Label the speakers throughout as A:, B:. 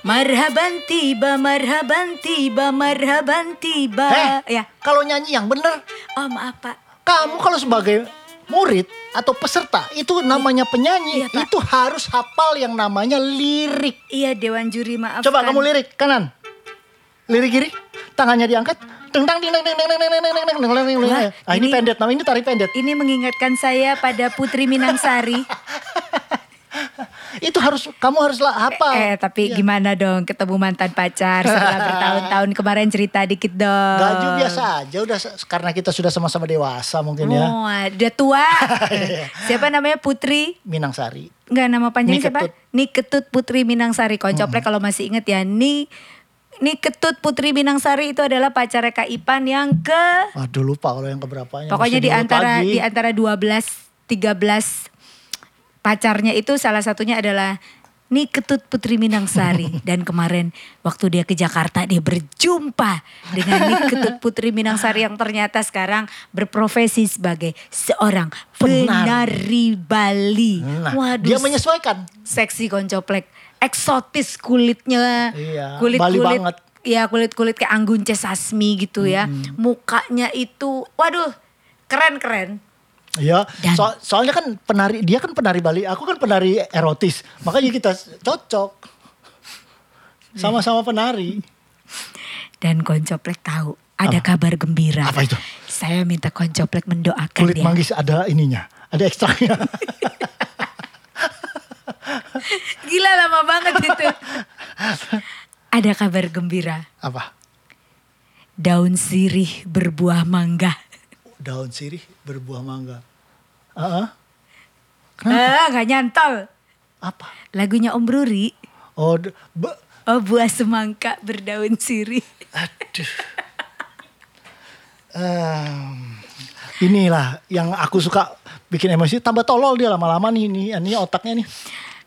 A: Marhaban tiba, marhaban tiba, marhaban tiba.
B: Eh,
A: Ya.
B: kalau nyanyi yang bener,
A: Oh maaf Pak.
B: kamu kalau sebagai murid atau peserta itu namanya penyanyi
A: Iya, Pak.
B: itu harus hafal yang namanya lirik.
A: Iya Dewan Juri maaf.
B: Coba kamu lirik kanan. Lirik kiri, tangannya diangkat. Teng tang ding deng deng deng deng deng deng deng deng deng deng deng.
A: Wah,
B: Ah, ini
A: ini-
B: pendek, namanya ini tari pendek.
A: Ini mengingatkan saya pada Putri Minangsari.
B: Itu harus kamu haruslah hafal.
A: eh tapi
B: Iya.
A: gimana dong ketemu mantan pacar setelah bertahun-tahun kemarin cerita dikit dong.
B: Gaju biasa aja udah se- karena kita sudah sama-sama dewasa mungkin ya.
A: Oh, udah tua. siapa namanya Putri?
B: Minang Sari.
A: Enggak nama panjang
B: Ni
A: siapa?
B: Ketut. Hmm.
A: Ni Ketut Putri Minangsari. Koncoplek kalau masih inget ya. Ni Ni Ketut Putri Minangsari itu adalah pacarnya Kak Ipan yang ke
B: Aduh lupa kalau yang keberapanya.
A: pokoknya di
B: Mesti diingat
A: antara
B: lagi.
A: di antara 12 13 pacarnya itu salah satunya adalah Ni Ketut Putri Minangsari dan kemarin waktu dia ke Jakarta dia berjumpa dengan Ni Ketut Putri Minangsari yang ternyata sekarang berprofesi sebagai seorang penari Bali.
B: Nah,
A: Waduh,
B: dia menyesuaikan.
A: seksi goncoplek eksotis kulitnya
B: Iya,
A: kulit
B: Bali
A: kulit
B: banget. Hmm.
A: ya kulit kulit kayak anggun C. sasmi gitu ya mukanya itu waduh keren keren
B: Iya,
A: Dan-
B: so- soalnya kan penari dia kan penari Bali, aku kan penari erotis, makanya kita s- cocok, sama-sama penari.
A: dan goncoplek tahu ada kabar gembira
B: Apa itu?
A: saya minta goncoplek mendoakan
B: Kulit
A: ya
B: manggis ada ininya, ada ekstraknya.
A: gila lama banget itu ada kabar gembira
B: Apa?
A: daun sirih berbuah mangga
B: Daun sirih berbuah mangga. Heeh.
A: ah nggak nyantol
B: Apa?
A: lagunya Om Bruri
B: Oh, d- be-
A: oh buah semangka berdaun sirih
B: aduh. Em, inilah yang aku suka bikin emosi, tambah tolol dia lama-lama nih, nih, ini otaknya nih.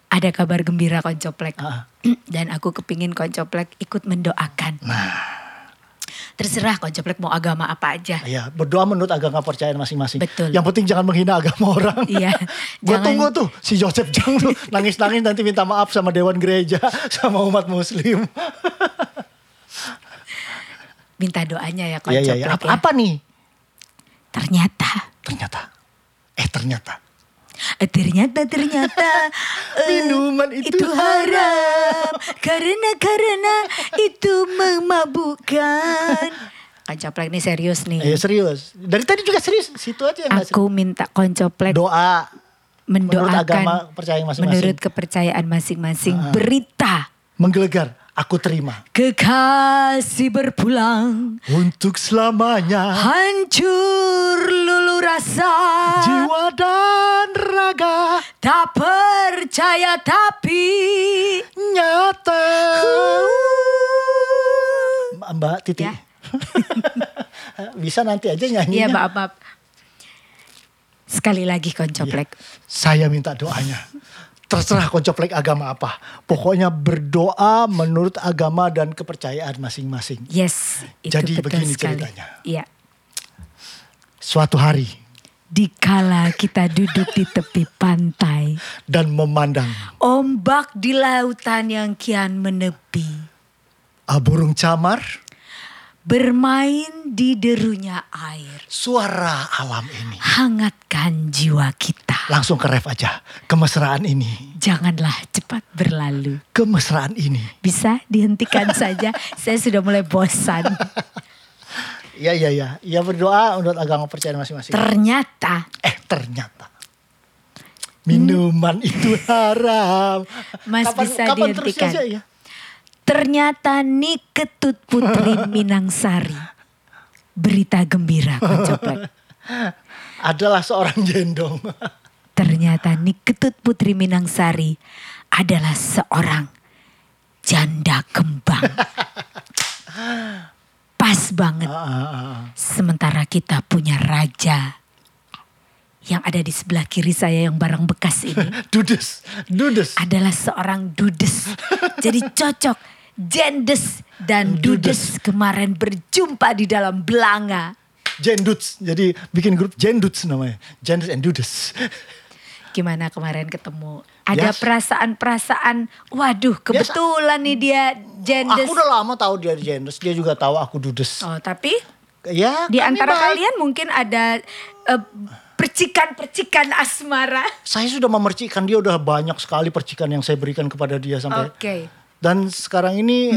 A: ada kabar gembira koncoplek
B: Ah.
A: dan aku kepingin koncoplek ikut mendoakan
B: Nah.
A: terserah koncoplek mau agama apa aja
B: Ya, berdoa menurut agama percayaan masing-masing.
A: Betul.
B: Yang penting jangan menghina agama orang.
A: Iya,
B: Gue
A: jangan-
B: tunggu tuh si Joseph Jang tuh nangis-nangis nanti minta maaf sama Dewan Gereja, sama umat muslim.
A: minta doanya ya
B: Iya,
A: koncoplek
B: iya, iya. Apa, apa nih?
A: ternyata
B: Ternyata. Eh ternyata.
A: eh, ternyata ternyata eh,
B: Minuman itu
A: haram karena karena itu memabukkan koncoplek ini serius
B: Eh
A: nih
B: serius. Dari tadi juga serius. Situ aja yang gak serius.
A: aku minta koncoplek
B: iya, Doa.
A: mendoakan
B: Menurut agama percayaan masing-masing.
A: menurut kepercayaan masing-masing berita
B: Menggelegar. Aku terima.
A: Kekasih berpulang
B: Untuk selamanya.
A: Hancur lulu rasa
B: Jiwa dan raga.
A: Tak percaya tapi
B: Nyata. M- Mbak Titi.
A: Ya.
B: Bisa nanti aja
A: Iya
B: nyanyinya.
A: maaf maaf Sekali lagi koncoplek
B: Iya. Saya minta doanya. Terserah koncoplek agama apa. Pokoknya berdoa menurut agama dan kepercayaan masing-masing.
A: Yes itu
B: Iya. Jadi
A: betul
B: begini
A: sekali.
B: ceritanya.
A: Iya
B: Suatu hari
A: Dikala kita duduk di tepi pantai
B: dan memandang
A: Ombak di lautan yang kian menepi
B: ah, burung camar,
A: Bermain di derunya air
B: suara alam ini.
A: Hangatkan jiwa kita
B: Langsung ke ref aja. Kemesraan ini,
A: Janganlah cepat berlalu.
B: kemesraan ini.
A: Bisa dihentikan saja. Saya sudah mulai bosan.
B: Iya, iya, iya. Ya berdoa menurut agama percayaan masing-masing.
A: Ternyata
B: Eh ternyata minuman itu haram.
A: Hmm. Mas, bisa dihentikan.
B: terusnya ya?
A: ternyata Ni Ketut Putri Minangsari. Berita gembira Kocoplek.
B: Adalah seorang jendong.
A: Ternyata Ni Ketut Putri Minangsari adalah seorang janda kembang. Pas banget.
B: Ah, ah, ah.
A: Sementara kita punya raja yang ada di sebelah kiri saya yang barang bekas ini.
B: dudes, dudes.
A: adalah seorang dudes. Jadi cocok. Jendes dan dudes kemarin berjumpa di dalam belanga.
B: Jenduts. Jadi bikin grup jenduts namanya. Jenduts and dudes.
A: gimana kemarin ketemu? Ada
B: Biasa.
A: perasaan-perasaan, waduh kebetulan nih dia gendes.
B: Aku udah lama tahu dia genders, dia juga tahu aku dudes.
A: Oh tapi
B: Ya,
A: di
B: kami
A: antara
B: baik.
A: kalian mungkin ada eh, percikan-percikan asmara.
B: saya sudah memercikkan dia udah banyak sekali percikan yang saya berikan kepada dia sampai
A: Oke. Hmm?
B: dan sekarang ini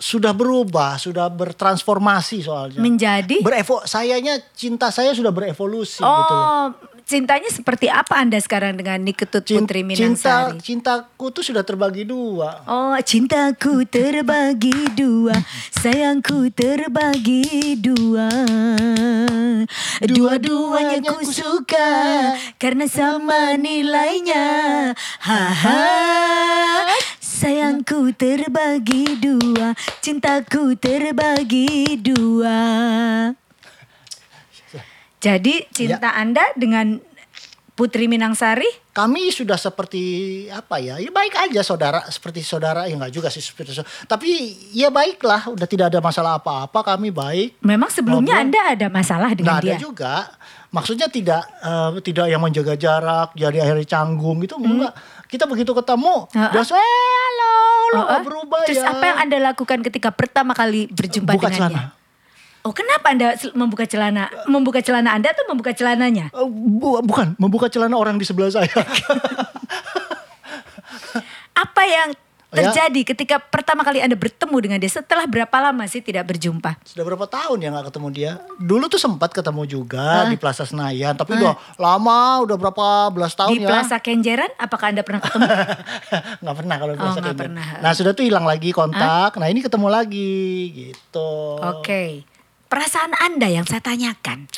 B: sudah berubah sudah bertransformasi soalnya
A: Menjadi?
B: berevo sayanya cinta saya sudah berevolusi gitu loh.
A: Oh cintanya seperti apa anda sekarang dengan Niketut
B: Cin-
A: Putri
B: cinta
A: Minangsari?
B: cintaku tuh sudah terbagi dua
A: Oh cintaku terbagi dua Sayangku terbagi dua Dua-duanya ku suka Karena sama nilainya Haha Sayangku terbagi dua Cintaku terbagi dua Jadi cinta anda dengan Putri Minangsari?
B: kami sudah seperti apa ya? Ya baik aja saudara, seperti saudara ya nggak juga sih seperti saudara. Tapi ya baiklah, udah tidak ada masalah apa-apa, kami baik.
A: Memang sebelumnya
B: Ngobrol.
A: anda ada masalah dengan
B: Nah,
A: dia?
B: ada juga. Maksudnya tidak eh, tidak yang menjaga jarak, jadi akhirnya canggung gitu enggak. Kita begitu ketemu,
A: Hmm. Heeh.
B: langsung eh halo, lu
A: Oh,
B: nggak
A: ah.
B: berubah
A: Terus
B: ya.
A: apa yang Anda lakukan ketika pertama kali berjumpa
B: Buka
A: dengannya?
B: celana.
A: Oh, kenapa Anda sel- membuka celana? Membuka celana Anda atau membuka celananya?
B: Eh, bu- bukan, membuka celana orang di sebelah saya.
A: Apa yang
B: Oh, ya.
A: terjadi ketika pertama kali Anda bertemu dengan dia setelah berapa lama sih tidak berjumpa?
B: Sudah berapa tahun ya nggak ketemu dia? Dulu tuh sempat ketemu juga di Plaza Senayan, tapi udah lama, udah berapa belas
A: Di
B: tahun ya.
A: Plaza Kenjeran apakah Anda pernah ketemu?
B: nggak pernah kalau
A: Oh,
B: biasa
A: nggak
B: kayak gitu.
A: pernah.
B: Nah sudah tuh hilang lagi kontak. Nah ini ketemu lagi gitu.
A: Oke. Perasaan Anda yang saya tanyakan.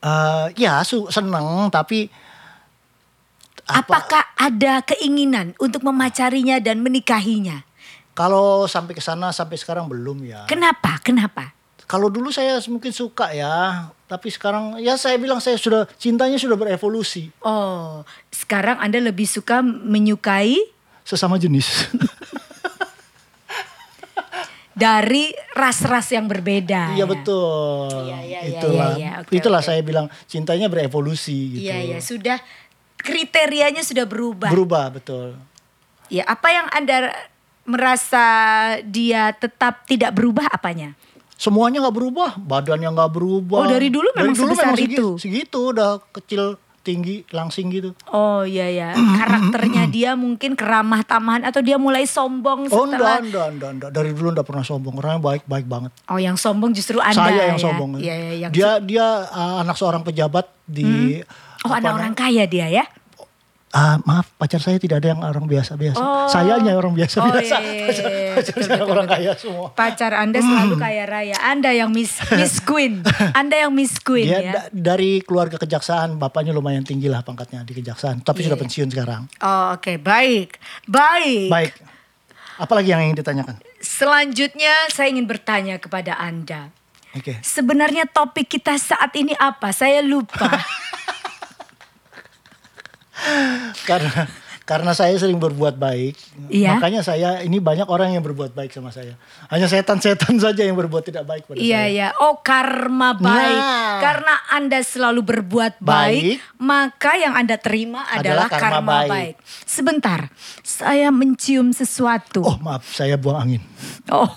B: Eh, ya su- seneng tapi apa
A: Apakah ada keinginan untuk memacarinya dan menikahinya?
B: kalau sampai ke sana sampai sekarang belum ya.
A: Kenapa? Kenapa?
B: Kalau dulu saya mungkin suka ya, tapi sekarang ya saya bilang saya sudah cintanya sudah berevolusi
A: Oh, sekarang Anda lebih suka menyukai
B: sesama jenis.
A: dari ras-ras yang berbeda. ya.
B: Iya betul.
A: Iya, iya, iya,
B: itulah
A: iya, iya. Oke,
B: itulah
A: oke.
B: saya bilang cintanya berevolusi gitu.
A: Iya ya sudah kriterianya sudah berubah.
B: Berubah betul.
A: ya apa yang anda merasa dia tetap tidak berubah apanya?
B: semuanya nggak berubah, badannya nggak berubah.
A: Oh, dari dulu memang sebesar
B: segi-
A: itu?
B: Segitu udah kecil, tinggi, langsing gitu.
A: Oh iya ya karakternya dia mungkin keramah tamahan atau dia mulai sombong
B: Oh enggak,
A: setelah
B: enggak, enggak, enggak. Dari dulu enggak pernah sombong. Orangnya baik-baik banget.
A: oh yang sombong justru anda
B: Saya yang
A: ya.
B: sombong.
A: Iya ya, yang
B: Dia dia uh, anak seorang pejabat di
A: oh
B: apa
A: anak orang kaya dia ya.
B: Ah, maaf, pacar saya tidak ada yang orang biasa-biasa.
A: Oh.
B: Sayanya orang
A: Oh,
B: biasa-biasa.
A: iya, iya,
B: Pacar-
A: iya.
B: pacar
A: Betul,
B: saya
A: betul,
B: orang
A: betul.
B: kaya semua.
A: Pacar anda selalu kaya raya. Anda yang miss miss queen. Anda yang miss queen
B: Dia
A: ya.
B: da- dari keluarga kejaksaan, bapaknya lumayan tinggi lah pangkatnya di kejaksaan, tapi
A: Iya,
B: sudah
A: iya.
B: pensiun sekarang.
A: Oh, Oke baik baik.
B: Baik. Apalagi yang ingin ditanyakan?
A: Selanjutnya saya ingin bertanya kepada Anda.
B: Oke.
A: Sebenarnya topik kita saat ini apa? Saya lupa.
B: karena karena saya sering berbuat baik,
A: Iya.
B: makanya saya ini banyak orang yang berbuat baik sama saya. Hanya setan-setan saja yang berbuat tidak baik pada
A: iya ya.
B: saya.
A: Oh karma baik.
B: Nah.
A: Karena Anda selalu berbuat baik,
B: Baik.
A: maka yang Anda terima adalah,
B: Adalah karma
A: karma baik.
B: baik.
A: Sebentar, saya mencium sesuatu.
B: Oh maaf, saya buang angin.
A: Oh.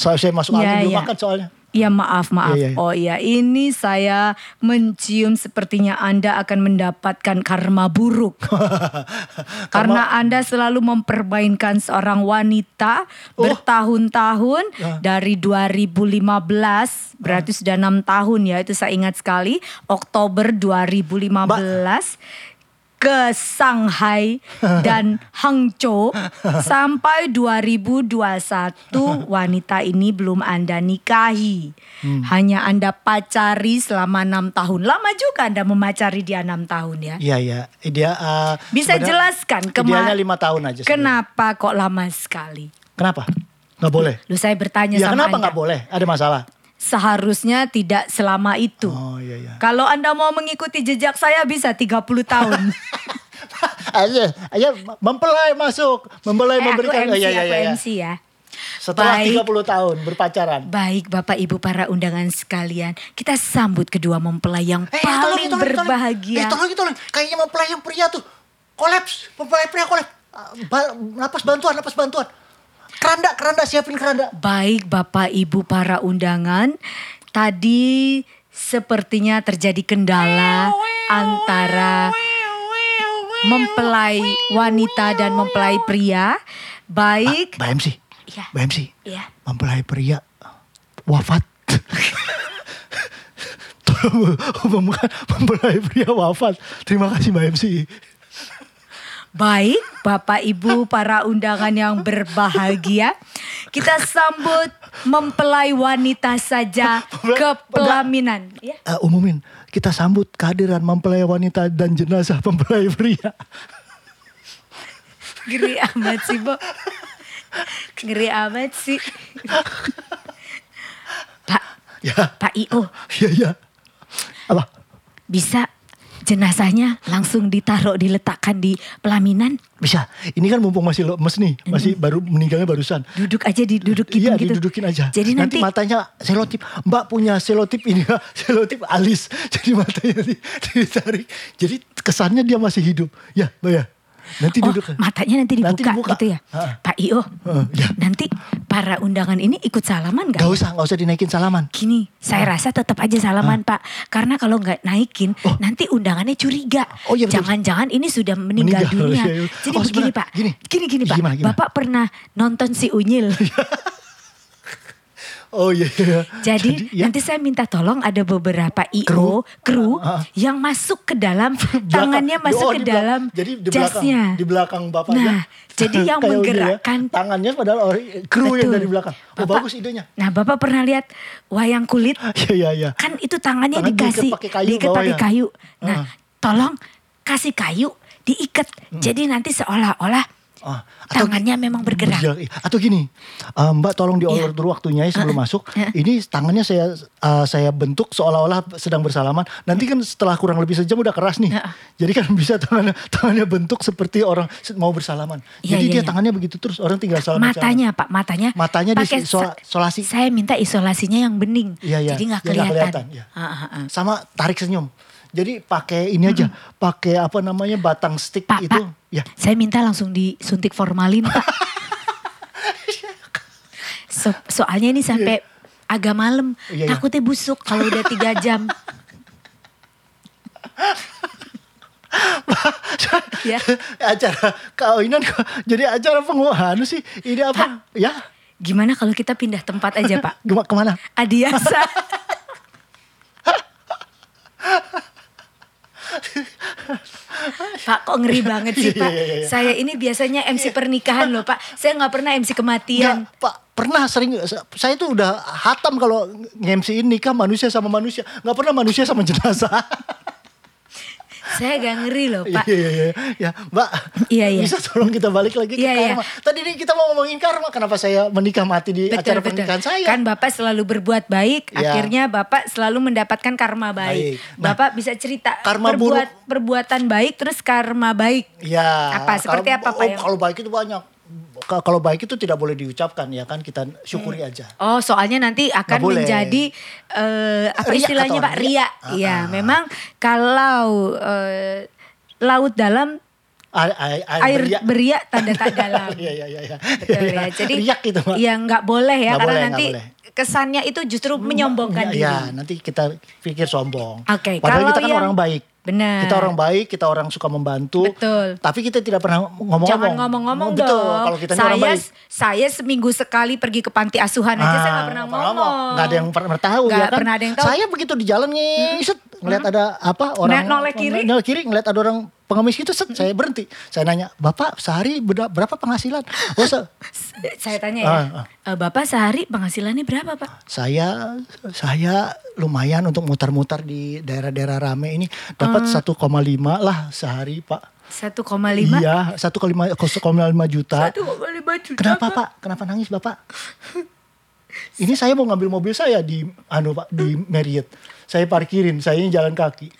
B: Soal saya masuk
A: Iya,
B: angin dulu
A: iya.
B: makan soalnya.
A: Iya maaf maaf.
B: Iya, iya, iya.
A: Oh iya ini saya mencium sepertinya Anda akan mendapatkan karma buruk. Karena Anda selalu mempermainkan seorang wanita
B: Oh.
A: bertahun-tahun
B: Ya.
A: dari 2015 berarti sudah enam tahun ya itu saya ingat sekali Oktober 2015 ke Shanghai dan Hangzhou sampai 2021 wanita ini belum Anda nikahi.
B: Hmm.
A: Hanya Anda pacari selama enam tahun. Lama juga Anda memacari dia enam tahun ya.
B: Iya iya, dia eh,
A: Bisa
B: sebenarnya
A: jelaskan
B: Idealnya
A: kema-
B: lima tahun aja. sebenarnya.
A: kenapa kok lama sekali?
B: Kenapa? Gak boleh.
A: Lu saya bertanya
B: Ya
A: sama
B: kenapa
C: kan?
A: Anda.
B: nggak boleh? Ada masalah?
A: Seharusnya tidak selama itu.
B: Oh iya iya.
C: ya.
A: Kalau Anda mau mengikuti jejak saya bisa 30 tahun.
B: aja, aja mempelai masuk, mempelai
A: eh, aku
B: memberikan.
C: Eh,
A: MC,
C: ya,
B: Oh, iya, iya,
A: Eh, aku
B: iya, iya.
A: MC ya.
B: Setelah
A: Baik.
B: 30 tahun berpacaran.
A: Baik Bapak Ibu para undangan sekalian, kita sambut kedua mempelai yang
C: Eh, tolong, tolong,
A: paling
C: tolong. Eh,
A: berbahagia.
C: tolong, tolong. Kayaknya mempelai yang pria tuh. Kolaps. Mempelai pria kolaps. Ah, ba- Napas bantuan, napas bantuan. Keranda, keranda. Siapin keranda.
A: Baik Bapak Ibu para undangan, tadi sepertinya terjadi kendala antara mempelai wanita dan mempelai pria. Baik,
B: Mbak MC.
A: Iya.
B: Mbak MC.
A: Iya.
B: Mempelai pria wafat. Tolong umumkan mempelai pria wafat. Terima kasih Mbak MC.
A: baik Bapak Ibu para undangan yang berbahagia. Kita sambut mempelai wanita saja ke pelaminan. Ya.
B: Eh, umumin, kita sambut kehadiran mempelai wanita dan jenazah mempelai pria.
A: Ngeri amat sih, Bo. Ngeri amat sih. Pak,
B: Ya,
A: Pak IO
B: ya, ya. Apa?
A: bisa jenazahnya langsung ditaruh diletakkan di pelaminan
B: Bisa. Ini kan mumpung masih lemes nih, masih baru meninggalnya barusan.
A: duduk aja didudukin
B: Iya,
A: gitu
B: didudukin aja.
A: jadi nanti,
B: matanya selotip. Mbak punya selotip ini, Kak. selotip alis. Jadi matanya di- ditarik. Jadi kesannya dia masih hidup. Ya, Mbak ya. Nanti
A: oh,
B: duduk.
A: matanya nanti dibuka,
B: Nanti dibuka.
A: gitu ya
B: Heeh.
A: Pak IO
B: Heeh, iya.
A: nanti para undangan ini ikut salaman
B: Gak
A: gak?
B: usah, gak usah dinaikin salaman.
A: Gini, saya rasa tetap aja salaman Pak, karena kalau nggak naikin nanti undangannya curiga.
B: Oh, iya, betul.
A: Jangan-jangan ini sudah meninggal,
B: Meninggal,
A: dunia.
B: iya, iya.
A: Jadi
B: Oh,
A: begini
B: sebentar,
A: Pak,
B: gini. Iya,
A: gini-gini Pak,
B: Gimana, Iya, gimana?
A: Bapak pernah nonton si Unyil?
B: Oh iya. iya.
A: Jadi
B: ya.
A: nanti saya minta tolong ada beberapa IO
B: Kru.
A: kru,
B: Ah, ah.
A: yang masuk ke dalam
B: belakang.
A: tangannya masuk
B: Oh,
A: ke
B: di belakang.
A: dalam
B: jadi di belakang,
A: jasnya.
B: di belakang
A: Nah,
B: bapaknya.
A: jadi yang
B: Kayak udah ya,
A: menggerakkan
B: tangannya padahal orang kru yang
A: Betul.
B: dari belakang. Oh,
A: Bapak-
B: bagus idenya.
A: Nah, Bapak pernah lihat wayang kulit?
B: Iya iya iya.
A: Kan itu tangannya
B: Tangan diikat
A: dikasih
B: pakai kayu
A: diikat pakai
B: bawahnya.
A: kayu. Nah,
B: Ah.
A: tolong kasih kayu diikat. Jadi nanti seolah-olah
B: Ah, Mm. atau
A: tangannya memang bergerak.
B: Bergerak, iya. Atau gini, eh, Mbak tolong
A: Iya.
B: diatur dulu waktunya ya
A: Ah,
B: sebelum masuk. Ini tangannya saya eh, saya bentuk seolah-olah sedang bersalaman. Nanti kan setelah kurang lebih sejam udah keras nih.
A: Heeh.
B: Jadi kan bisa tangannya tangannya bentuk seperti orang se- mau bersalaman.
A: Iya,
B: Jadi
A: iya,
B: dia
A: iya.
B: tangannya begitu terus orang tinggal salaman.
A: matanya Pak matanya
B: Matanya di
A: pakai
B: isola-
A: sa-
B: isolasi.
A: saya minta isolasinya yang bening
B: Iya, iya.
A: jadi nggak
B: Jadi nggak
A: kelihatan,
B: kelihatan, iya.
A: Ah, ah, ah.
B: Sama tarik senyum. Jadi pakai ini aja, pakai apa namanya batang stick
A: Pak
B: itu.
A: Pak
B: Ya.
A: saya minta langsung disuntik formalin Pak So- soalnya ini sampai agak malam
B: Iya, iya.
A: takutnya busuk kalau udah tiga jam Ya.
B: acara kawinan kok jadi acara penguahan sih ini apa ya
A: gimana kalau kita pindah tempat aja Pak
B: Gema- kemana
A: Adiasa Pak kok ngeri banget sih
B: Iya,
A: Pak
B: iya, iya, iya.
A: Saya ini biasanya MC pernikahan loh Pak Saya nggak pernah MC kematian
B: Nggak, Pak, pernah sering saya itu udah hatam kalau ngemsiin nikah manusia sama manusia. nggak pernah manusia sama jenazah.
A: Saya gak ngeri loh
B: Iya
A: Pak
B: iya iya. Ya, Mbak.
A: Iya, iya.
B: Bisa tolong kita balik lagi
A: Iya,
B: ke
A: iya.
B: karma. Tadi ini kita mau ngomongin karma, kenapa saya menikah mati di acara pernikahan saya?
A: Kan Bapak selalu berbuat baik,
B: Iya.
A: akhirnya Bapak selalu mendapatkan karma baik.
B: Baik. Nah,
A: Bapak bisa cerita
B: karma
A: perbuat perbuatan baik terus karma baik.
B: Ya.
A: Apa, seperti
B: kalau-
A: apa, Pak,
B: oh,
A: yang-
B: Kalau baik itu banyak. Ka- Kalau baik itu tidak boleh diucapkan ya kan kita syukuri aja.
A: Oh, soalnya nanti akan
B: Nggak boleh.
A: menjadi eh, apa
B: Riak
A: istilahnya
B: atau
A: Pak
B: riak. Ah,
A: Ria. Iya, memang kalau eh, laut dalam
B: Air, air,
A: air
B: beriak.
A: beriak tanda tak dalam.
B: Iya iya iya iya.
A: Betul
B: Iya,
A: ya.
B: iya.
A: Jadi
B: riak gitu, Pak.
A: ya nggak boleh ya
B: Nggak
A: karena
B: boleh,
A: nanti
B: nggak boleh.
A: kesannya itu justru menyombongkan diri.
B: Ya, nanti kita pikir sombong.
A: Oke,
B: Padahal
A: kalau
B: kita kan
A: yang-
B: orang baik.
A: Benar.
B: Kita orang baik, kita orang suka membantu.
A: Betul.
B: Tapi kita tidak pernah ngomong-ngomong.
A: Jangan ngomong-ngomong
B: Betul,
A: dong.
B: Kalau kita ini
A: saya,
B: orang baik.
A: Saya seminggu sekali pergi ke panti asuhan aja saya
B: Ah,
A: gak pernah ngomong.
B: Nggak ada yang pernah tahu
A: Nggak
B: ya kan.
A: pernah ada yang tahu.
B: Saya begitu di jalan nih, set, ngeliat ada apa
A: Noleh-
B: orang
A: noleh kiri.
B: noleh kiri, ngeliat ada orang pengemis gitu, set, saya berhenti. Saya nanya, "Bapak, sehari beda- berapa penghasilan?" Oh, se-
A: Saya tanya ya,
B: Ah, ah.
A: "Eh, Bapak sehari penghasilannya berapa Pak?
B: saya saya lumayan untuk mutar-mutar di daerah-daerah rame ini dapat
A: Mm.
B: 1,5 lah sehari, Pak.
A: 1,5?
B: Iya, satu koma lima kos- koma lima juta.
A: 1,5 juta
B: Kenapa
A: Pak?
B: pak? Kenapa nangis bapak? Ini saya mau ngambil mobil saya di anu pak di Marriott. Saya parkirin, saya jalan kaki.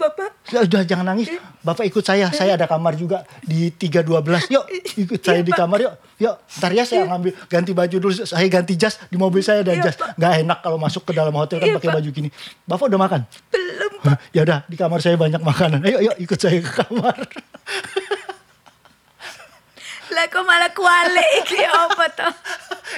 A: Bapak.
B: Sudah jangan nangis. Bapak ikut saya. Saya ada kamar juga di 312. Yuk, ikut
A: Iya,
B: saya di kamar yuk. Yuk, ntar ya saya ngambil ganti baju dulu. Saya ganti jas di mobil saya ada
A: Iya,
B: jas. Nggak enak kalau masuk ke dalam hotel kan
A: Iya,
B: pakai
A: Pak.
B: baju gini. Bapak udah makan?
A: Belum.
B: Ya udah, di kamar saya banyak makanan. Ayo, yuk ikut saya ke kamar.
A: Lah kok malah kuali iki apa toh?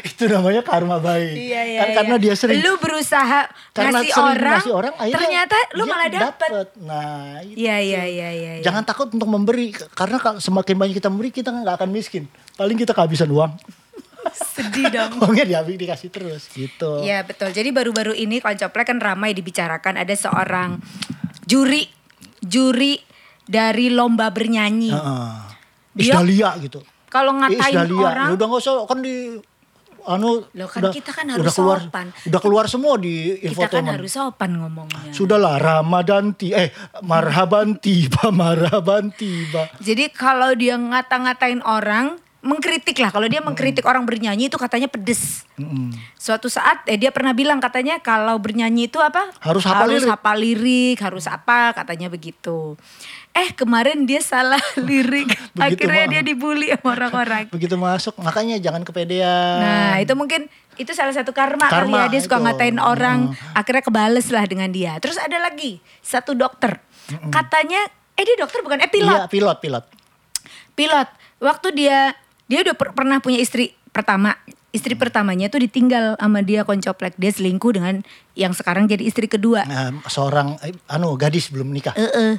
B: Itu namanya karma baik.
A: Iya iya.
B: kan karena
A: iya.
B: dia sering
A: Lu berusaha
B: karena
A: ngasih
B: sering
A: orang,
B: ngasih orang akhirnya
A: ternyata lu
B: dia
A: malah dapet.
B: Nah, itu.
A: Iya iya iya iya. iya.
B: Jangan takut untuk memberi karena kalau semakin banyak kita memberi kita nggak akan miskin. Paling kita kehabisan uang.
A: sedih dong.
B: Uangnya dihabis dikasih terus gitu.
A: Iya betul. Jadi baru-baru ini koncoplek kan ramai dibicarakan ada seorang juri juri dari lomba bernyanyi.
B: Heeh.
A: Dia-
B: Isdalia gitu.
A: Kalau
B: Eh,
A: ngatain
B: Isdalia.
A: orang
B: Ya udah nggak usah kan di anu
A: Loh, kan
B: udah,
A: kita kan harus
B: udah keluar
A: sopan.
B: udah keluar semua
A: kita
B: di
A: kan
B: infotainment.
A: harus sopan ngomongnya.
B: Sudahlah Ramadan ti eh marhaban tiba marhaban tiba.
A: Jadi kalau dia ngata-ngatain orang, mengkritik lah. Kalau dia mengkritik orang bernyanyi itu katanya pedes. Suatu saat eh, dia pernah bilang katanya kalau bernyanyi itu apa?
B: Harus hafal
A: harus
B: lirik.
A: hafal lirik, harus apa katanya begitu. Eh kemarin dia salah lirik,
B: Begitu,
A: akhirnya
B: Ma.
A: dia dibully sama orang-orang.
B: Begitu masuk makanya jangan kepedean.
A: Nah itu mungkin itu salah satu karma, kali
B: Karma,
A: ya dia suka
B: itu.
A: ngatain orang akhirnya kebales lah dengan dia. Terus ada lagi satu dokter katanya eh dia dokter bukan eh pilot.
B: Iya, pilot pilot.
A: pilot waktu dia dia udah per- pernah punya istri pertama
B: Mm.
A: istri pertamanya tuh ditinggal sama dia koncoplek dia selingkuh dengan yang sekarang jadi istri kedua
B: Nah, seorang eh, anu gadis belum nikah.
A: Eh, eh.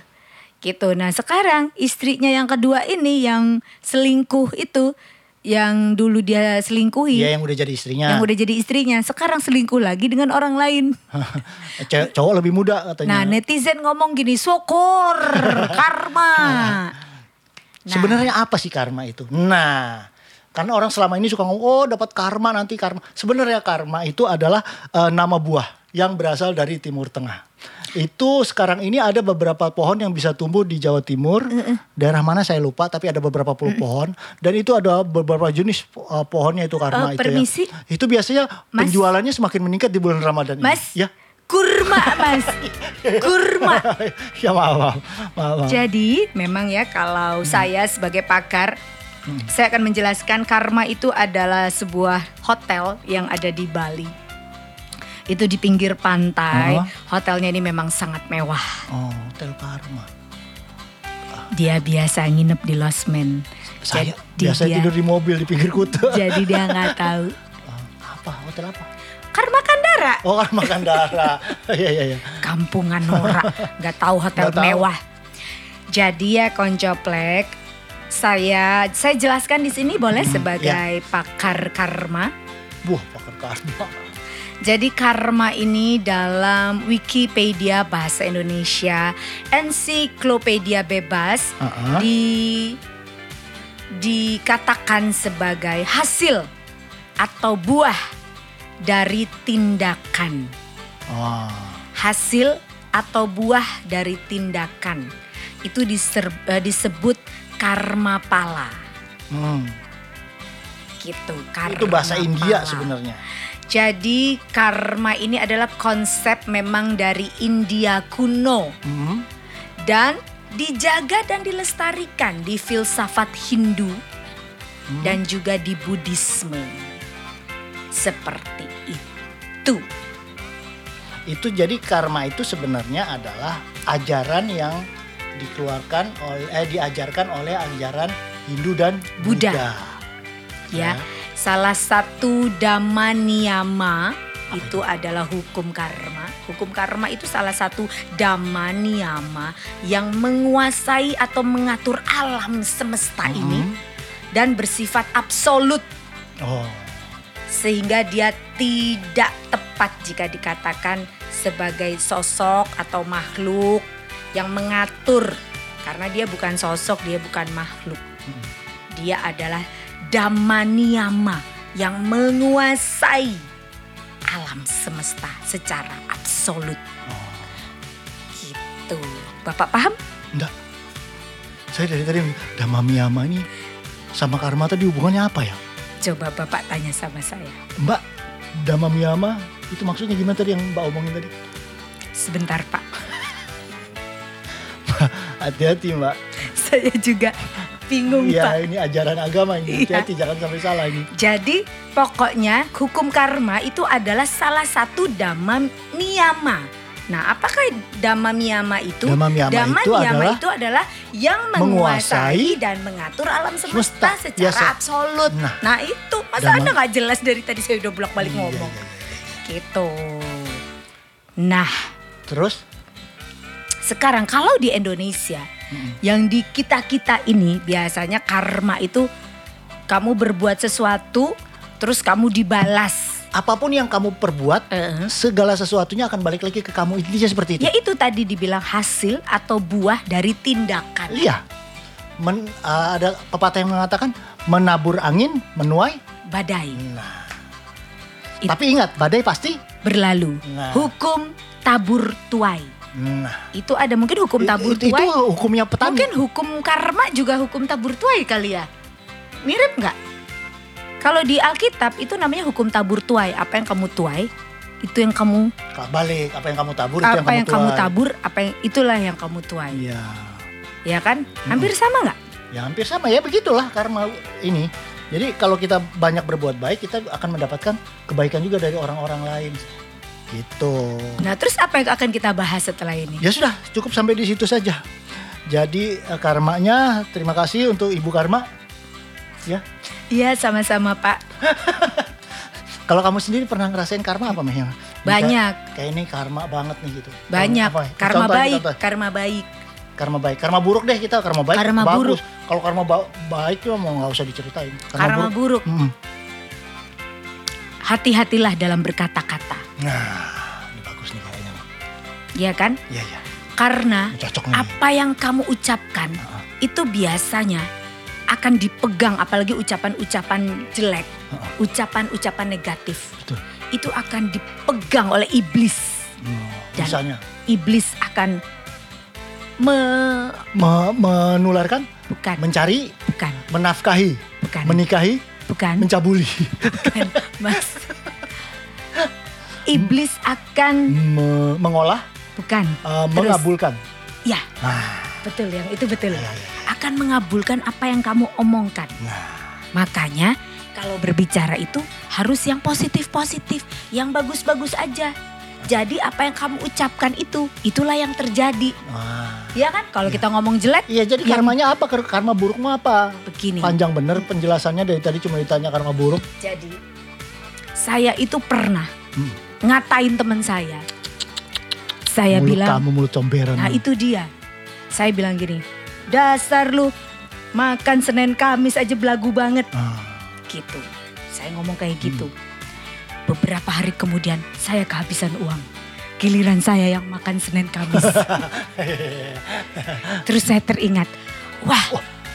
A: gitu nah sekarang istrinya yang kedua ini yang selingkuh itu yang dulu dia selingkuhi
B: Iya yang udah jadi istrinya.
A: yang udah jadi istrinya sekarang selingkuh lagi dengan orang lain
B: Ce- cowok lebih muda
A: nah
B: katanya.
A: netizen ngomong gini syukur karma Nah.
B: Sebenarnya apa sih karma itu? Nah, karena orang selama ini suka ngomong, oh dapat karma nanti karma. Sebenarnya karma itu adalah eh, nama buah yang berasal dari Timur Tengah. Itu sekarang ini ada beberapa pohon yang bisa tumbuh di Jawa Timur. Daerah mana saya lupa, tapi ada beberapa puluh pohon. Dan itu ada beberapa jenis eh, pohonnya itu karma
A: Eh,
B: itu ya.
A: permisi?
B: Itu biasanya
A: Mas?
B: penjualannya semakin meningkat di bulan Ramadan ini.
A: mas
B: Ya,
A: kurma mas kurma
B: ya maaf, maaf, maaf, maaf.
A: Jadi memang ya kalau saya sebagai pakar saya akan menjelaskan karma itu adalah sebuah hotel yang ada di Bali. Itu di pinggir pantai.
B: Oh.
A: Hotelnya ini memang sangat mewah.
B: Oh, hotel karma.
A: Dia biasa nginep di losmen.
B: Saya
A: Jadi
B: biasa
A: dia-
B: tidur di mobil di pinggir kota.
A: Jadi dia nggak tahu.
B: apa hotel apa?
A: Karma Kandara,
B: Oh kan makan darah. Iya iya iya.
A: kampungan Nora, nggak tahu hotel
B: Nggak tahu.
A: mewah. Jadi ya koncoplek, saya saya jelaskan di sini
B: Hmm,
A: boleh sebagai
B: ya.
A: pakar karma.
B: Wah pakar karma.
A: Jadi karma ini dalam Wikipedia bahasa Indonesia, ensiklopedia bebas
B: Heeh.
A: di dikatakan sebagai hasil atau buah dari tindakan.
B: Ah,
A: Hasil atau buah dari tindakan. Itu diser- eh, disebut karma pala
B: hmm.
A: gitu. Karma
B: Itu bahasa India
A: pala.
B: sebenarnya.
A: Jadi karma ini adalah konsep memang dari India kuno
B: Hmm.
A: dan dijaga dan dilestarikan di filsafat Hindu
B: Hmm.
A: dan juga di Buddhisme. Seperti itu.
B: Itu jadi karma itu sebenarnya adalah ajaran yang dikeluarkan oleh eh, diajarkan oleh ajaran Hindu dan
A: Buddha.
B: Buddha.
A: Ya,
B: Ya.
A: salah satu dhamma niyama itu adalah hukum karma. Hukum karma itu salah satu dhamma niyama yang menguasai atau mengatur alam semesta ini
B: Mhm.
A: dan bersifat absolut
B: Oh.
A: sehingga dia tidak tepat jika dikatakan sebagai sosok atau makhluk yang mengatur karena dia bukan sosok, dia bukan makhluk. Dia adalah damaniyama yang menguasai alam semesta secara absolut. Gitu. Bapak paham?
B: Enggak. Saya dari tadi Dhamma Miyama ini sama karma tadi hubungannya apa ya?
A: Coba Bapak tanya sama saya.
B: Mbak, Dhamma Miyama itu maksudnya gimana tadi yang Mbak omongin tadi?
A: Sebentar, Pak.
B: Hati-hati mbak.
A: Saya juga bingung Pak.
B: Iya ini ajaran agama ini.
A: Iya.
B: Hati-hati jangan sampai salah ini.
A: Jadi pokoknya hukum karma itu adalah salah satu dhamma niyama. Nah, apakah dhamma niyama itu?
B: Dhamma niyama itu adalah-
A: itu adalah yang
B: Menguasai-
A: menguasai dan mengatur alam semesta,
B: Semesta,
A: secara
B: ya, Sob.
A: absolut.
B: Nah,
A: Nah, itu masa
B: dhamma-
A: Anda nggak jelas dari tadi saya udah bolak-balik
B: Iya,
A: ngomong.
B: iya,
A: Gitu. Nah,
B: Terus
A: sekarang kalau di Indonesia yang di kita-kita ini biasanya karma itu kamu berbuat sesuatu terus kamu dibalas.
B: apapun yang kamu perbuat,
A: Eh.
B: segala sesuatunya akan balik lagi ke kamu. Intinya seperti itu.
A: Ya itu tadi dibilang hasil atau buah dari tindakan.
B: Iya. Men- eh, ada pepatah yang mengatakan menabur angin menuai.
A: Badai
B: Nah.
A: It-
B: Tapi ingat badai pasti.
A: berlalu.
B: Nah.
A: Hukum tabur tuai.
B: Nah.
A: Itu ada mungkin hukum tabur
B: itu, itu
A: tuai.
B: hukumnya petani.
A: Mungkin hukum karma juga hukum tabur tuai kali ya. Mirip nggak? Kalau di Alkitab itu namanya hukum tabur tuai. Apa yang kamu tuai, itu yang kamu
B: Balik apa yang kamu tabur itu
A: apa yang kamu,
B: tuai.
A: tabur, apa yang itulah yang kamu tuai.
B: Iya. Hmm.
A: Ya kan? Hampir sama nggak?
B: Ya hampir sama ya begitulah karma ini. Jadi kalau kita banyak berbuat baik, kita akan mendapatkan kebaikan juga dari orang-orang lain. Gitu.
A: Nah, terus apa yang akan kita bahas setelah ini?
B: Ya sudah, cukup sampai di situ saja. Jadi eh, karmanya terima kasih untuk Ibu Karma. Ya.
A: Iya, sama-sama, Pak.
B: Kalau kamu sendiri pernah ngerasain karma apa Meh? Yang
A: Banyak.
B: kayak- Kayak ini karma banget nih gitu.
A: Banyak
B: Apa?
A: karma
B: Contoh aja,
A: baik,
B: contoh.
A: karma baik.
B: Karma baik. Karma buruk deh kita karma baik.
A: Karma
B: bagus.
A: buruk.
B: Kalau karma ba- baik ya mau nggak usah diceritain.
A: Karma buruk.
B: Mm-mm.
A: Hati-hatilah dalam berkata-kata.
B: Nah, ini bagus nih kayaknya. nih.
A: Ya kan?
B: Iya iya.
A: Karena
B: Ini Cocok nih.
A: apa yang kamu ucapkan
B: Heeh.
A: itu biasanya akan dipegang apalagi ucapan-ucapan jelek, ucapan-ucapan negatif.
B: Ah. Betul.
A: Itu akan dipegang oleh iblis.
B: Hmm,
A: Dan-
B: Misalnya
A: Iblis akan me-
B: me- menularkan,
A: bukan
B: mencari,
A: bukan
B: menafkahi,
A: bukan
B: menikahi,
A: bukan
B: mencabuli,
A: bukan, Mas. Iblis akan
B: Me- mengolah,
A: bukan.
B: eh,
A: Terus.
B: mengabulkan.
A: Ya,
B: Nah,
A: betul yang itu betul.
B: iya, iya. Nah,
A: akan mengabulkan apa yang kamu omongkan. Makanya kalau berbicara itu harus yang positif-positif, yang bagus-bagus aja. Jadi apa yang kamu ucapkan itu, itulah yang terjadi.
B: Wah.
A: Ya kan? Kalau kita ngomong jelek
B: Iya jadi
A: Yang-
B: karmanya apa? Kar- Karma burukmu apa?
A: begini.
B: Panjang bener penjelasannya dari tadi cuma ditanya karma buruk.
A: Jadi saya itu pernah
B: Hmm.
A: ngatain teman saya. Saya
B: mulut
A: bilang,
B: kamu mulut comberan.
A: nah
B: lu.
A: itu dia. Saya bilang gini, dasar lu makan Senin Kamis aja belagu banget.
B: Ah,
A: gitu. Saya ngomong kayak
B: Hmm.
A: gitu. Beberapa hari kemudian saya kehabisan uang. Giliran saya yang makan Senin Kamis. Terus saya teringat, wah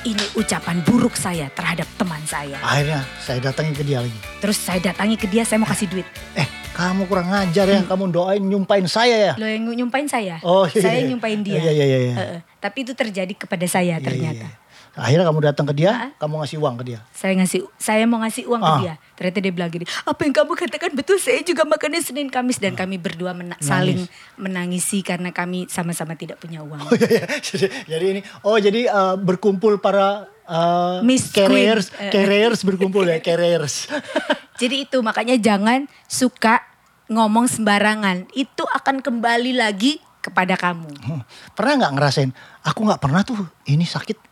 A: ini ucapan buruk saya terhadap teman saya.
B: akhirnya saya datangi ke dia lagi.
A: Terus saya datangi ke dia, saya mau kasih duit.
B: Eh kamu kurang ngajar ya. Kamu doain nyumpain saya ya.
A: Lo yang nyumpain saya,
B: Oh, iya,
A: saya
B: iya.
A: yang nyumpain dia.
B: Iya, iya, iya, iya.
A: Eh, eh. Tapi itu terjadi kepada saya
B: Iya,
A: ternyata.
B: iya, iya. Akhirnya kamu datang ke dia,
A: Ah.
B: kamu ngasih uang ke dia.
A: Saya ngasih, saya mau ngasih uang ke
B: Ah.
A: dia. Ternyata dia bilang gini, apa yang kamu katakan betul. Saya juga makannya Senin Kamis dan kami berdua mena- saling menangisi karena kami sama-sama tidak punya uang.
B: Oh, iya, iya. jadi, jadi ini, oh jadi eh, berkumpul para eh,
A: Miss Queen.
B: carriers,
A: Eh.
B: carriers berkumpul ya, carriers.
A: Jadi itu makanya jangan suka ngomong sembarangan. Itu akan kembali lagi kepada kamu.
B: Hmm. Pernah nggak ngerasain? Aku nggak pernah tuh ini sakit.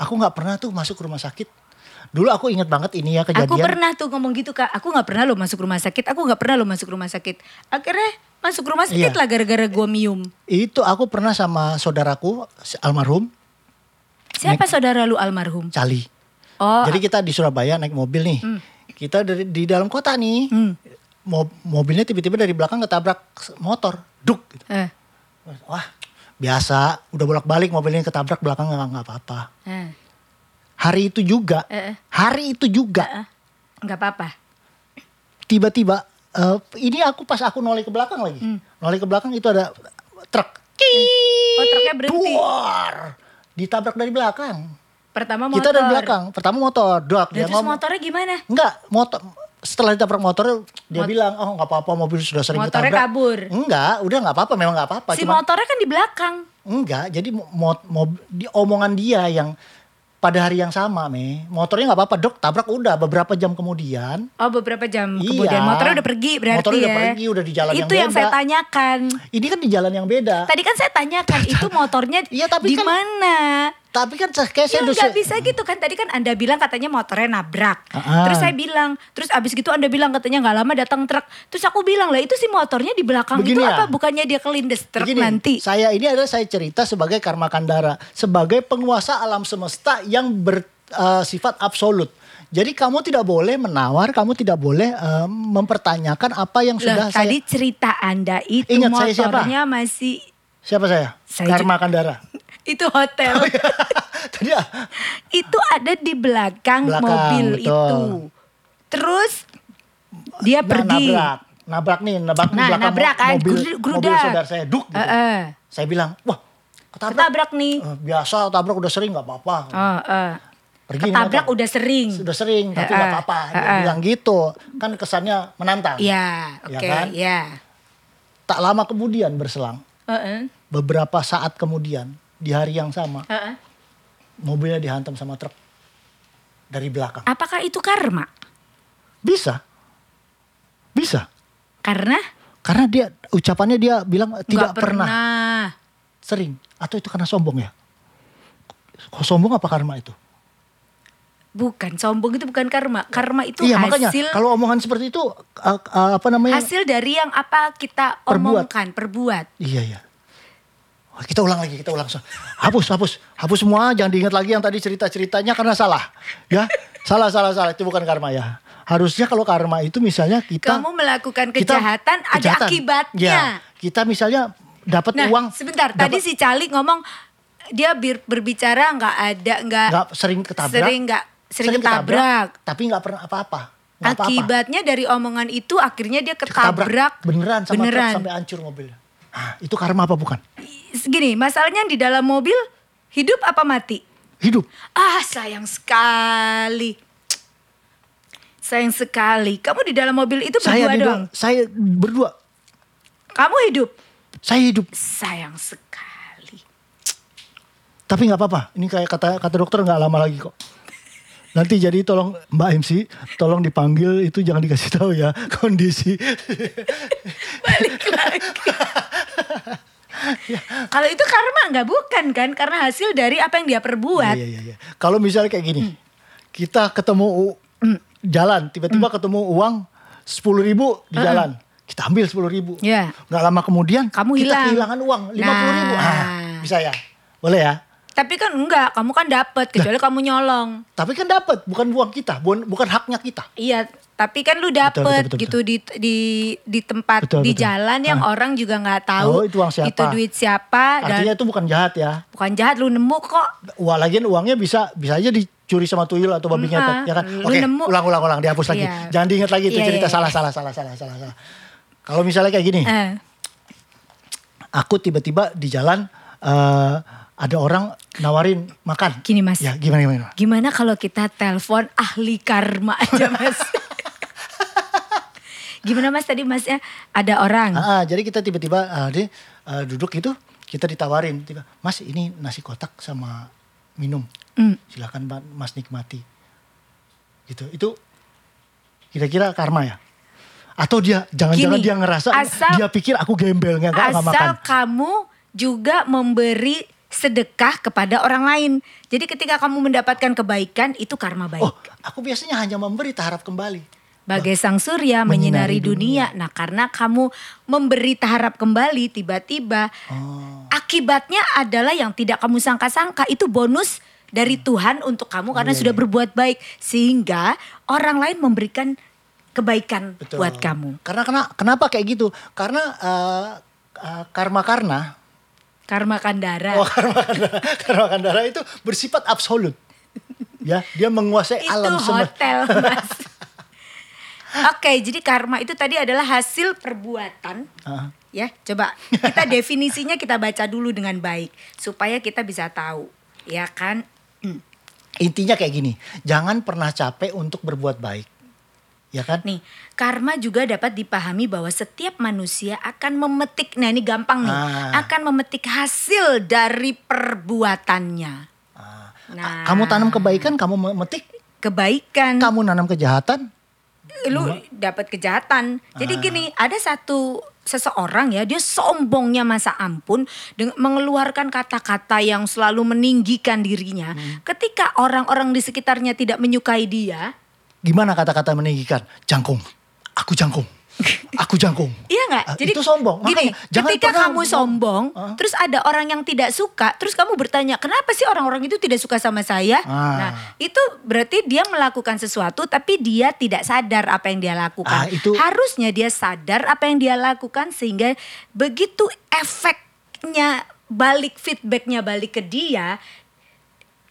B: Aku nggak pernah tuh masuk rumah sakit. Dulu aku ingat banget ini ya kejadian.
A: Aku pernah tuh ngomong gitu kak. Aku nggak pernah lo masuk rumah sakit. Aku nggak pernah lo masuk rumah sakit. Akhirnya masuk rumah sakit
B: Iya.
A: lah gara-gara gue mium.
B: Itu aku pernah sama saudaraku si almarhum
A: Siapa saudara lu almarhum?
B: Cali.
A: Oh, Hmm.
B: Jadi kita di Surabaya naik mobil nih. Kita dari di dalam kota nih. Mo- mobilnya tiba-tiba dari belakang ketabrak motor. Duk gitu.
A: eh,
B: Wah, biasa udah bolak-balik mobilnya ketabrak belakang nggak nggak apa-apa.
A: eh,
B: Hari itu juga,
A: Eh.
B: hari itu juga
A: eh. nggak apa-apa.
B: tiba-tiba eh, ini aku pas aku noleh ke belakang lagi.
A: Hmm.
B: Noleh ke belakang itu ada truk.
A: Oh truknya berhenti.
B: Duar. Ditabrak dari belakang.
A: Pertama motor.
B: Kita dari belakang. Pertama motor, dok.
A: Dan terus motornya gimana?
B: Enggak, motor setelah ditabrak motornya dia
A: Mot-
B: bilang oh nggak apa-apa mobil sudah sering
A: Motornya
B: ketabrak
A: kabur.
B: enggak udah nggak apa-apa memang nggak apa-apa
A: Si
B: Cuman-
A: motornya kan di belakang.
B: Enggak, jadi mo, mo- mo- di omongan dia yang pada hari yang sama, me. Motornya nggak apa-apa, dok. Tabrak udah beberapa jam kemudian.
A: Oh beberapa jam
B: Iya.
A: kemudian motornya udah pergi berarti ya.
B: Motornya udah pergi, udah di jalan yang
A: Itu yang
B: beda.
A: saya tanyakan.
B: Ini kan di jalan yang beda.
A: Tadi kan saya tanyakan itu motornya
B: Iya, tapi
A: di
B: kan-
A: mana?
B: Tapi kan saya- kayak
A: Ya
B: saya udah
A: nggak
B: se-
A: bisa gitu kan tadi kan anda bilang katanya motornya nabrak
B: Ah.
A: terus saya bilang terus abis gitu anda bilang katanya nggak lama datang truk terus aku bilang lah itu si motornya di belakang
B: Begini
A: itu
B: ya.
A: apa bukannya dia kelindes truk
B: Begini,
A: nanti
B: Saya ini adalah saya cerita sebagai karma kandara, sebagai penguasa alam semesta yang bersifat absolut. Jadi kamu tidak boleh menawar, kamu tidak boleh eh, mempertanyakan apa yang
A: Loh,
B: sudah
A: tadi
B: saya.
A: cerita anda itu
B: Ingat saya siapa?
A: motornya masih
B: Siapa saya?
A: Saya
B: karma kandara.
A: itu
B: Oh,
A: hotel
B: iya. Tadi ah,
A: itu ada di belakang,
B: Belakang,
A: mobil
B: betul.
A: itu terus dia
B: Nah,
A: pergi
B: nabrak nabrak nih nabrak di
A: Nah,
B: belakang
A: nabrak kan,
B: mobil
A: geru-
B: mobil
A: gerudak.
B: saudara saya duk gitu.
A: Heeh.
B: saya bilang wah ketabrak,
A: ketabrak nih
B: Eh, biasa tabrak udah sering nggak apa-apa
A: oh, eh.
B: Pergi nih
A: ketabrak
B: motor.
A: udah Eh, sering
B: sudah sering tapi
A: Heeh,
B: nggak apa-apa dia
A: heeh.
B: bilang gitu kan kesannya menantang
A: ya
B: Ya
A: oke
B: kan?
A: ya
B: tak lama kemudian berselang
A: Heeh.
B: beberapa saat kemudian di hari yang sama
A: Heeh.
B: mobilnya dihantam sama truk dari belakang
A: Apakah itu karma?
B: bisa bisa
A: Karena
B: karena dia ucapannya dia bilang
A: nggak
B: tidak pernah sering atau itu karena sombong ya kok sombong apa karma itu
A: Bukan sombong itu bukan karma. Karma itu
B: iya makanya
A: hasil
B: kalau omongan seperti itu uh, uh, apa namanya
A: hasil dari yang apa kita
B: Perbuat.
A: omongkan, perbuat.
B: iya iya Wah, kita ulang lagi kita ulang hapus hapus hapus semua jangan diingat lagi yang tadi cerita ceritanya karena salah ya salah salah salah itu bukan karma ya harusnya kalau karma itu misalnya kita
A: Kamu melakukan
B: kita-
A: kejahatan, ada
B: kejahatan.
A: akibatnya.
B: Ya, kita misalnya dapat
A: Nah,
B: uang
A: sebentar. Tadi
B: dapat-
A: si Cali ngomong dia bir- berbicara nggak ada nggak
B: nggak sering ketabrak
A: sering nggak sering, ketabrak.
B: tapi nggak pernah apa-apa Nggak apa-apa.
A: Akibatnya dari omongan itu akhirnya dia ketabrak,
B: ketabrak beneran sama
A: beneran.
B: truk sampai hancur mobilnya. Hah, itu karma apa bukan?
A: Gini, masalahnya di dalam mobil hidup apa mati?
B: Hidup.
A: Ah sayang sekali. Sayang sekali. Kamu di dalam mobil itu
B: Saya
A: berdua
B: di
A: dong.
B: saya berdua.
A: Kamu hidup.
B: Saya hidup.
A: Sayang sekali.
B: Tapi nggak apa-apa. Ini kayak kata kata dokter nggak lama lagi kok. Nanti jadi tolong Mbak MC, tolong dipanggil itu jangan dikasih tahu ya kondisi.
A: Balik lagi. Kalau itu karma nggak bukan kan? Karena hasil dari apa yang dia
B: Iya
A: perbuat.
B: iya iya. Kalau misalnya kayak gini, kita ketemu u- jalan, tiba-tiba ketemu uang sepuluh ribu di jalan, kita ambil sepuluh ribu.
A: Iya.
B: Nggak lama kemudian
A: Kamu
B: kita
A: hilang.
B: kehilangan uang lima puluh ribu.
A: Nah.
B: Ah, bisa ya, boleh ya.
A: Tapi kan enggak, kamu kan dapat kecuali kamu nyolong.
B: Tapi kan dapat, bukan uang kita, bukan, bukan haknya kita.
A: Iya, tapi kan lu dapet
B: betul, betul,
A: gitu di di di tempat
B: Betul,
A: di
B: betul.
A: jalan yang orang juga nggak tahu
B: Tahu itu uang siapa.
A: itu duit siapa dan
B: Artinya itu bukan jahat ya.
A: bukan jahat lu nemu kok
B: Wah, lagian uangnya bisa bisa aja dicuri sama tuyul atau babi
A: Mm,
B: ngepet,
A: ah.
B: ya kan?
A: Lu
B: Oke,
A: nemu.
B: ulang ulang ulang dihapus lagi.
A: Iya.
B: Jangan diingat lagi itu
A: Iya,
B: cerita
A: iya,
B: salah salah salah salah salah salah. Kalau misalnya kayak gini,
A: Eh,
B: aku tiba-tiba di jalan eh, ada orang nawarin makan.
A: Gini, Mas.
B: Ya gimana gimana. gimana?
A: gimana kalau kita telepon ahli karma aja mas gimana mas tadi masnya ada orang
B: Ah, ah, jadi kita tiba-tiba ah, dia ah, duduk gitu, kita ditawarin, tiba, Mas ini nasi kotak sama minum,
A: Hmm.
B: silakan Pak, Mas nikmati. Gitu, itu kira-kira karma ya? Atau dia jangan-jangan
A: Gini,
B: dia ngerasa "Oh,
A: asal-
B: dia pikir aku gembel nggak nggak makan.
A: asal kamu juga memberi sedekah kepada orang lain jadi ketika kamu mendapatkan kebaikan itu karma baik
B: Oh, aku biasanya hanya memberi taharap kembali.
A: Bagai sang surya menyinari
B: Menyinari
A: dunia. Nah, karena kamu memberi taharap kembali tiba-tiba,
B: Oh,
A: akibatnya adalah yang tidak kamu sangka-sangka itu bonus dari Tuhan untuk kamu
B: Iya,
A: karena sudah berbuat baik sehingga orang lain memberikan kebaikan
B: Betul.
A: buat kamu.
B: Karena kena, kenapa kayak gitu? Karena eh, eh, karma karena
A: Karma Kandara.
B: Oh, karma kandara. Karma kandara itu bersifat absolut. Ya, dia
A: itu
B: menguasai alam semesta.
A: hotel, Mas. Oke, jadi karma itu tadi adalah hasil perbuatan
B: Ah,
A: Ya, coba kita definisinya kita baca dulu dengan baik supaya kita bisa tahu, ya kan?
B: Intinya kayak gini, jangan pernah capek untuk berbuat baik. Ya kan?
A: Nih, karma juga dapat dipahami bahwa setiap manusia akan memetik, nah ini gampang nih,
B: Ah.
A: akan memetik hasil dari perbuatannya.
B: Ah.
A: Nah.
B: Kamu tanam kebaikan, kamu metik,
A: Kebaikan,
B: kamu nanam kejahatan.
A: lu dapat kejahatan. Jadi gini, ada satu seseorang ya, dia sombongnya masa ampun dengan mengeluarkan kata-kata yang selalu meninggikan dirinya. Ketika orang-orang di sekitarnya tidak menyukai dia,
B: Gimana kata-kata meninggikan? Jangkung. Aku jangkung. Aku jangkung.
A: Iya nggak?
B: Ah, itu sombong.
A: Gini,
B: Makanya jangan
A: ketika
B: pernah
A: kamu
B: bilang-
A: sombong,
B: Ah.
A: terus ada orang yang tidak suka, terus kamu bertanya, kenapa sih orang-orang itu tidak suka sama saya?
B: Ah.
A: Nah, itu berarti dia melakukan sesuatu, tapi dia tidak sadar apa yang dia lakukan.
B: Ah, itu-
A: Harusnya dia sadar apa yang dia lakukan sehingga begitu efeknya balik feedbacknya balik ke dia,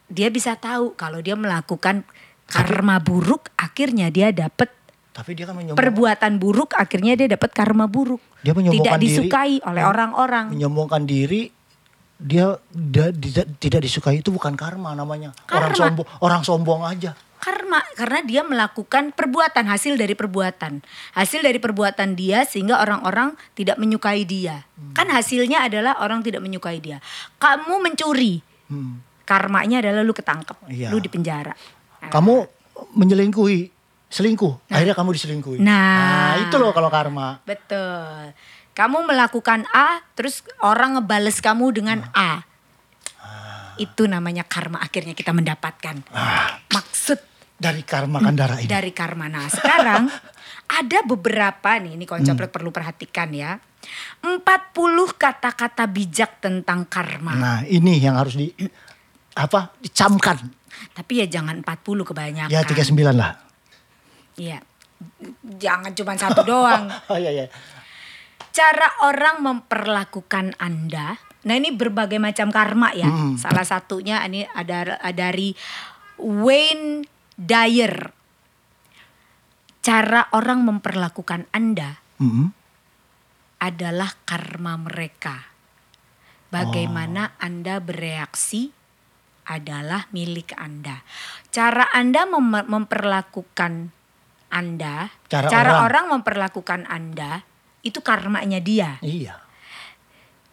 A: dia bisa tahu kalau dia melakukan karma buruk, akhirnya dia dapat
B: Tapi dia kan menyombongkan,
A: perbuatan buruk akhirnya dia dapat karma buruk.
B: Dia
A: tidak
B: menyombongkan diri. Hmm.
A: disukai oleh orang-orang.
B: menyombongkan diri. Dia da- tidak tidak disukai itu bukan karma namanya. Orang
A: Karma.
B: sombong, orang sombong aja.
A: Karma karena dia melakukan perbuatan hasil dari perbuatan. Hasil dari perbuatan dia sehingga orang-orang tidak menyukai dia.
B: Hmm.
A: Kan hasilnya adalah orang tidak menyukai dia. Kamu mencuri.
B: Hmm.
A: Karmanya adalah lu ketangkep,
B: Iya.
A: lu dipenjara. Ah.
B: Kamu menyelingkuhi, selingkuh. Akhirnya kamu diselingkuhi.
A: Nah.
B: itu loh kalau karma.
A: Betul. Kamu melakukan A, terus orang ngebales kamu dengan
B: Hmm.
A: A.
B: Ah.
A: Itu namanya karma akhirnya kita mendapatkan. Maksud
B: Dari karma kandara
A: Hmm.
B: ini.
A: dari karma. Nah sekarang ada beberapa nih, ini
B: Hmm.
A: koncoplek perlu perhatikan ya. 40 kata-kata bijak tentang karma.
B: Nah, ini yang harus di apa? Dicamkan.
A: Tapi ya jangan 40 kebanyakan.
B: Ya 39 lah.
A: Iya. Jangan cuma satu doang.
B: Oh iya iya.
A: cara orang memperlakukan Anda. Nah, ini berbagai macam karma ya.
B: Hmm.
A: Salah satunya ini ada ada dari Wayne Dyer. Cara orang memperlakukan Anda
B: Mm-mm.
A: adalah karma mereka. Bagaimana
B: Oh.
A: Anda bereaksi adalah milik Anda. Cara Anda mem- memperlakukan Anda,
B: Cara
A: orang.
B: orang.
A: memperlakukan Anda itu karmanya dia.
B: Iya.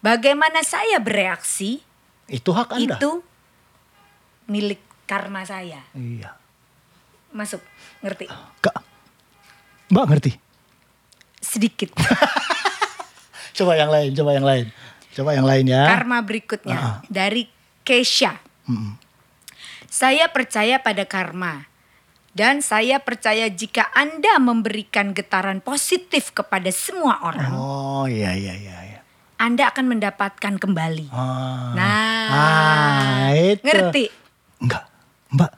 A: Bagaimana saya bereaksi
B: Itu hak Anda.
A: itu milik karma saya.
B: Iya.
A: Masuk, ngerti?
B: Kak. Mbak ngerti?
A: Sedikit.
B: Coba yang lain, coba yang lain. Coba yang lain ya.
A: Karma berikutnya dari Keisha.
B: Mm-mm.
A: Saya percaya pada karma. Dan saya percaya jika Anda memberikan getaran positif kepada semua orang,
B: Oh iya iya iya. iya.
A: Anda akan mendapatkan kembali.
B: Ah.
A: Nah,
B: Ah, itu.
A: ngerti?
B: Enggak. Mbak.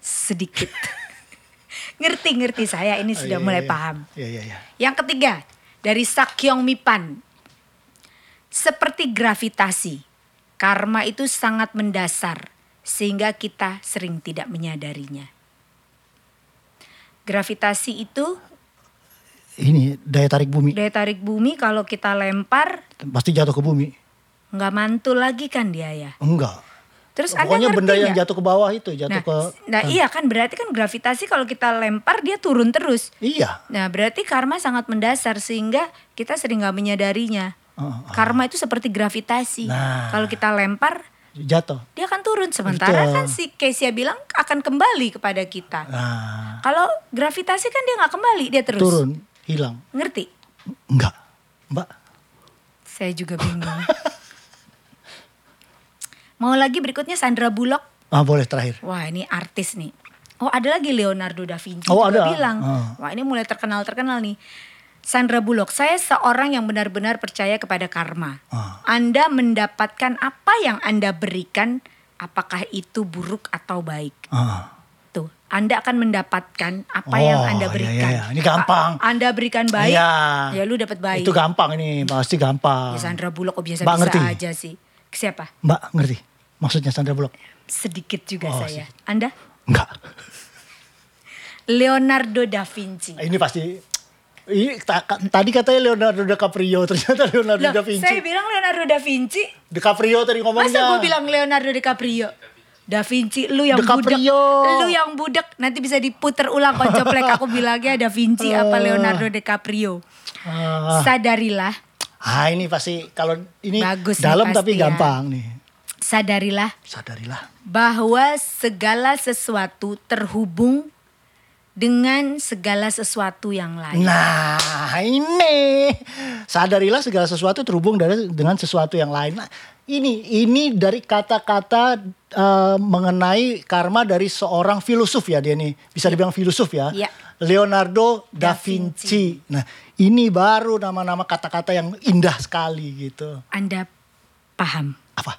A: Sedikit. ngerti, ngerti saya ini sudah
B: Oh, iya,
A: mulai
B: iya.
A: paham.
B: Iya iya iya.
A: Yang ketiga, dari Sakyong Mipan. Seperti gravitasi, karma itu sangat mendasar sehingga kita sering tidak menyadarinya. Gravitasi itu
B: Ini daya tarik bumi
A: daya tarik bumi kalau kita lempar
B: pasti jatuh ke bumi.
A: nggak mantul lagi kan dia ya.
B: Enggak.
A: Terus Anda
B: Pokoknya
A: ngerti
B: benda yang
A: nggak?
B: jatuh ke bawah itu jatuh
A: Nah,
B: ke Hmm.
A: s- nah iya kan berarti kan gravitasi kalau kita lempar dia turun terus.
B: Iya.
A: Nah berarti karma sangat mendasar sehingga kita sering nggak menyadarinya.
B: Heeh.
A: Karma itu seperti gravitasi.
B: Ah. Nah.
A: Kalau kita lempar,
B: Jatuh.
A: dia akan turun. Sementara
B: Betul.
A: kan si Kesia bilang akan kembali kepada kita.
B: Nah,
A: Kalau gravitasi kan dia nggak kembali, dia terus.
B: turun, hilang.
A: Ngerti?
B: Enggak. Mbak.
A: Saya juga bingung. Mau lagi berikutnya Sandra Bullock.
B: Ah, boleh terakhir.
A: Wah ini artis nih. Oh ada lagi Leonardo da Vinci
B: Oh,
A: juga
B: ada.
A: bilang.
B: Ah.
A: Wah ini mulai terkenal-terkenal nih. Sandra Bullock, saya seorang yang benar-benar percaya kepada karma.
B: Ah.
A: Anda mendapatkan apa yang Anda berikan, apakah itu buruk atau baik.
B: Ah.
A: Tuh, Anda akan mendapatkan apa yang
B: Oh,
A: Anda
B: iya,
A: berikan.
B: iya, iya. Ini gampang.
A: A- Anda berikan baik,
B: Iya.
A: ya lu dapat baik.
B: Itu gampang ini, pasti gampang.
A: Ya, Sandra Bullock kok
B: Mbak
A: biasa-biasa
B: ngerti?
A: aja sih. Siapa?
B: Mbak ngerti? Maksudnya Sandra Bullock?
A: Sedikit juga
B: Oh,
A: saya. Anda?
B: Enggak.
A: Leonardo da Vinci.
B: Ini pasti ini ta- ka- tadi katanya Leonardo DiCaprio, ternyata Leonardo
A: Loh,
B: da Vinci.
A: saya bilang Leonardo da Vinci.
B: DiCaprio tadi ngomongnya.
A: Masa gue bilang Leonardo DiCaprio? Da Vinci lu yang budak
B: DiCaprio.
A: lu yang budak nanti bisa diputer ulang koncoplek aku bilangnya Da Vinci
B: Eh.
A: apa Leonardo DiCaprio sadarilah
B: Ah ini pasti kalau ini
A: Bagus nih
B: dalam
A: pasti
B: tapi
A: ya.
B: gampang nih.
A: sadarilah
B: Sadarilah.
A: bahwa segala sesuatu terhubung dengan segala sesuatu yang lain
B: Nah ini sadarilah segala sesuatu terhubung dari dengan sesuatu yang lain. Nah, ini ini dari kata-kata eh, mengenai karma dari seorang filosof ya dia nih bisa dibilang filosof ya.
A: Iya.
B: Leonardo
A: Da
B: da, Vinci. Nah ini baru nama-nama kata-kata yang indah sekali gitu.
A: Anda paham
B: Apa?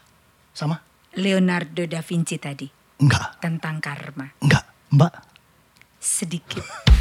B: Sama?
A: Leonardo da Vinci tadi
B: Enggak,
A: tentang karma
B: enggak, Mbak.
A: sedikit